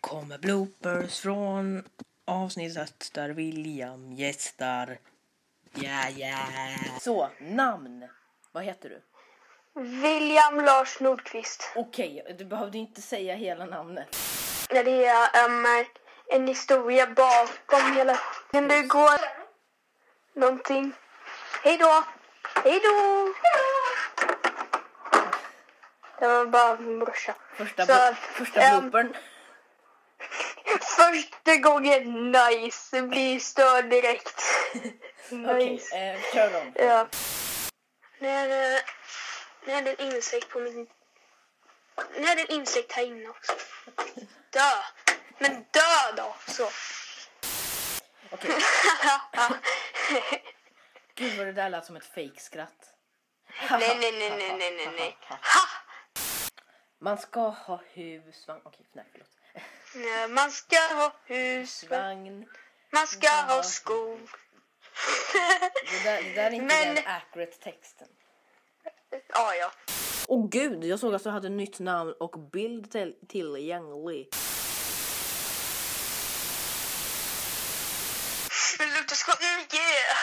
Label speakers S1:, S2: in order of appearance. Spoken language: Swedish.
S1: kommer bloopers från avsnittet där William gästar. Ja, ja.
S2: Så, namn. Vad heter du?
S3: William Lars Nordqvist.
S2: Okej, du behövde inte säga hela namnet.
S3: När det är ehm, en historia bakom hela... Kan det gå någonting? Hej då! Hej då! Det var bara min brorsa.
S2: Första,
S3: Så,
S2: bo- första
S3: ehm,
S2: bloopern.
S3: Första gången nice, blir störd direkt.
S2: Okej,
S3: Nice.
S2: eh, kör dem.
S3: Ja. När, eh, när det är en insekt på min... När det är en insekt här inne också. Dö! Men dö då! Så.
S2: Okej. Gud vad det där lät som ett fejkskratt.
S3: nej, nej, nej, nej, nej, nej, nej.
S2: Man ska ha husvagn. Okej, nej förlåt.
S3: Nej, Man ska ha husvagn,
S2: Svagn.
S3: man ska ha skog.
S2: Det där, det där är inte
S3: Men-
S2: den accurate texten.
S3: ja, ja.
S2: Åh gud, jag såg att du hade nytt namn och bild till, tillgänglig.
S3: Det luktar skott mycket.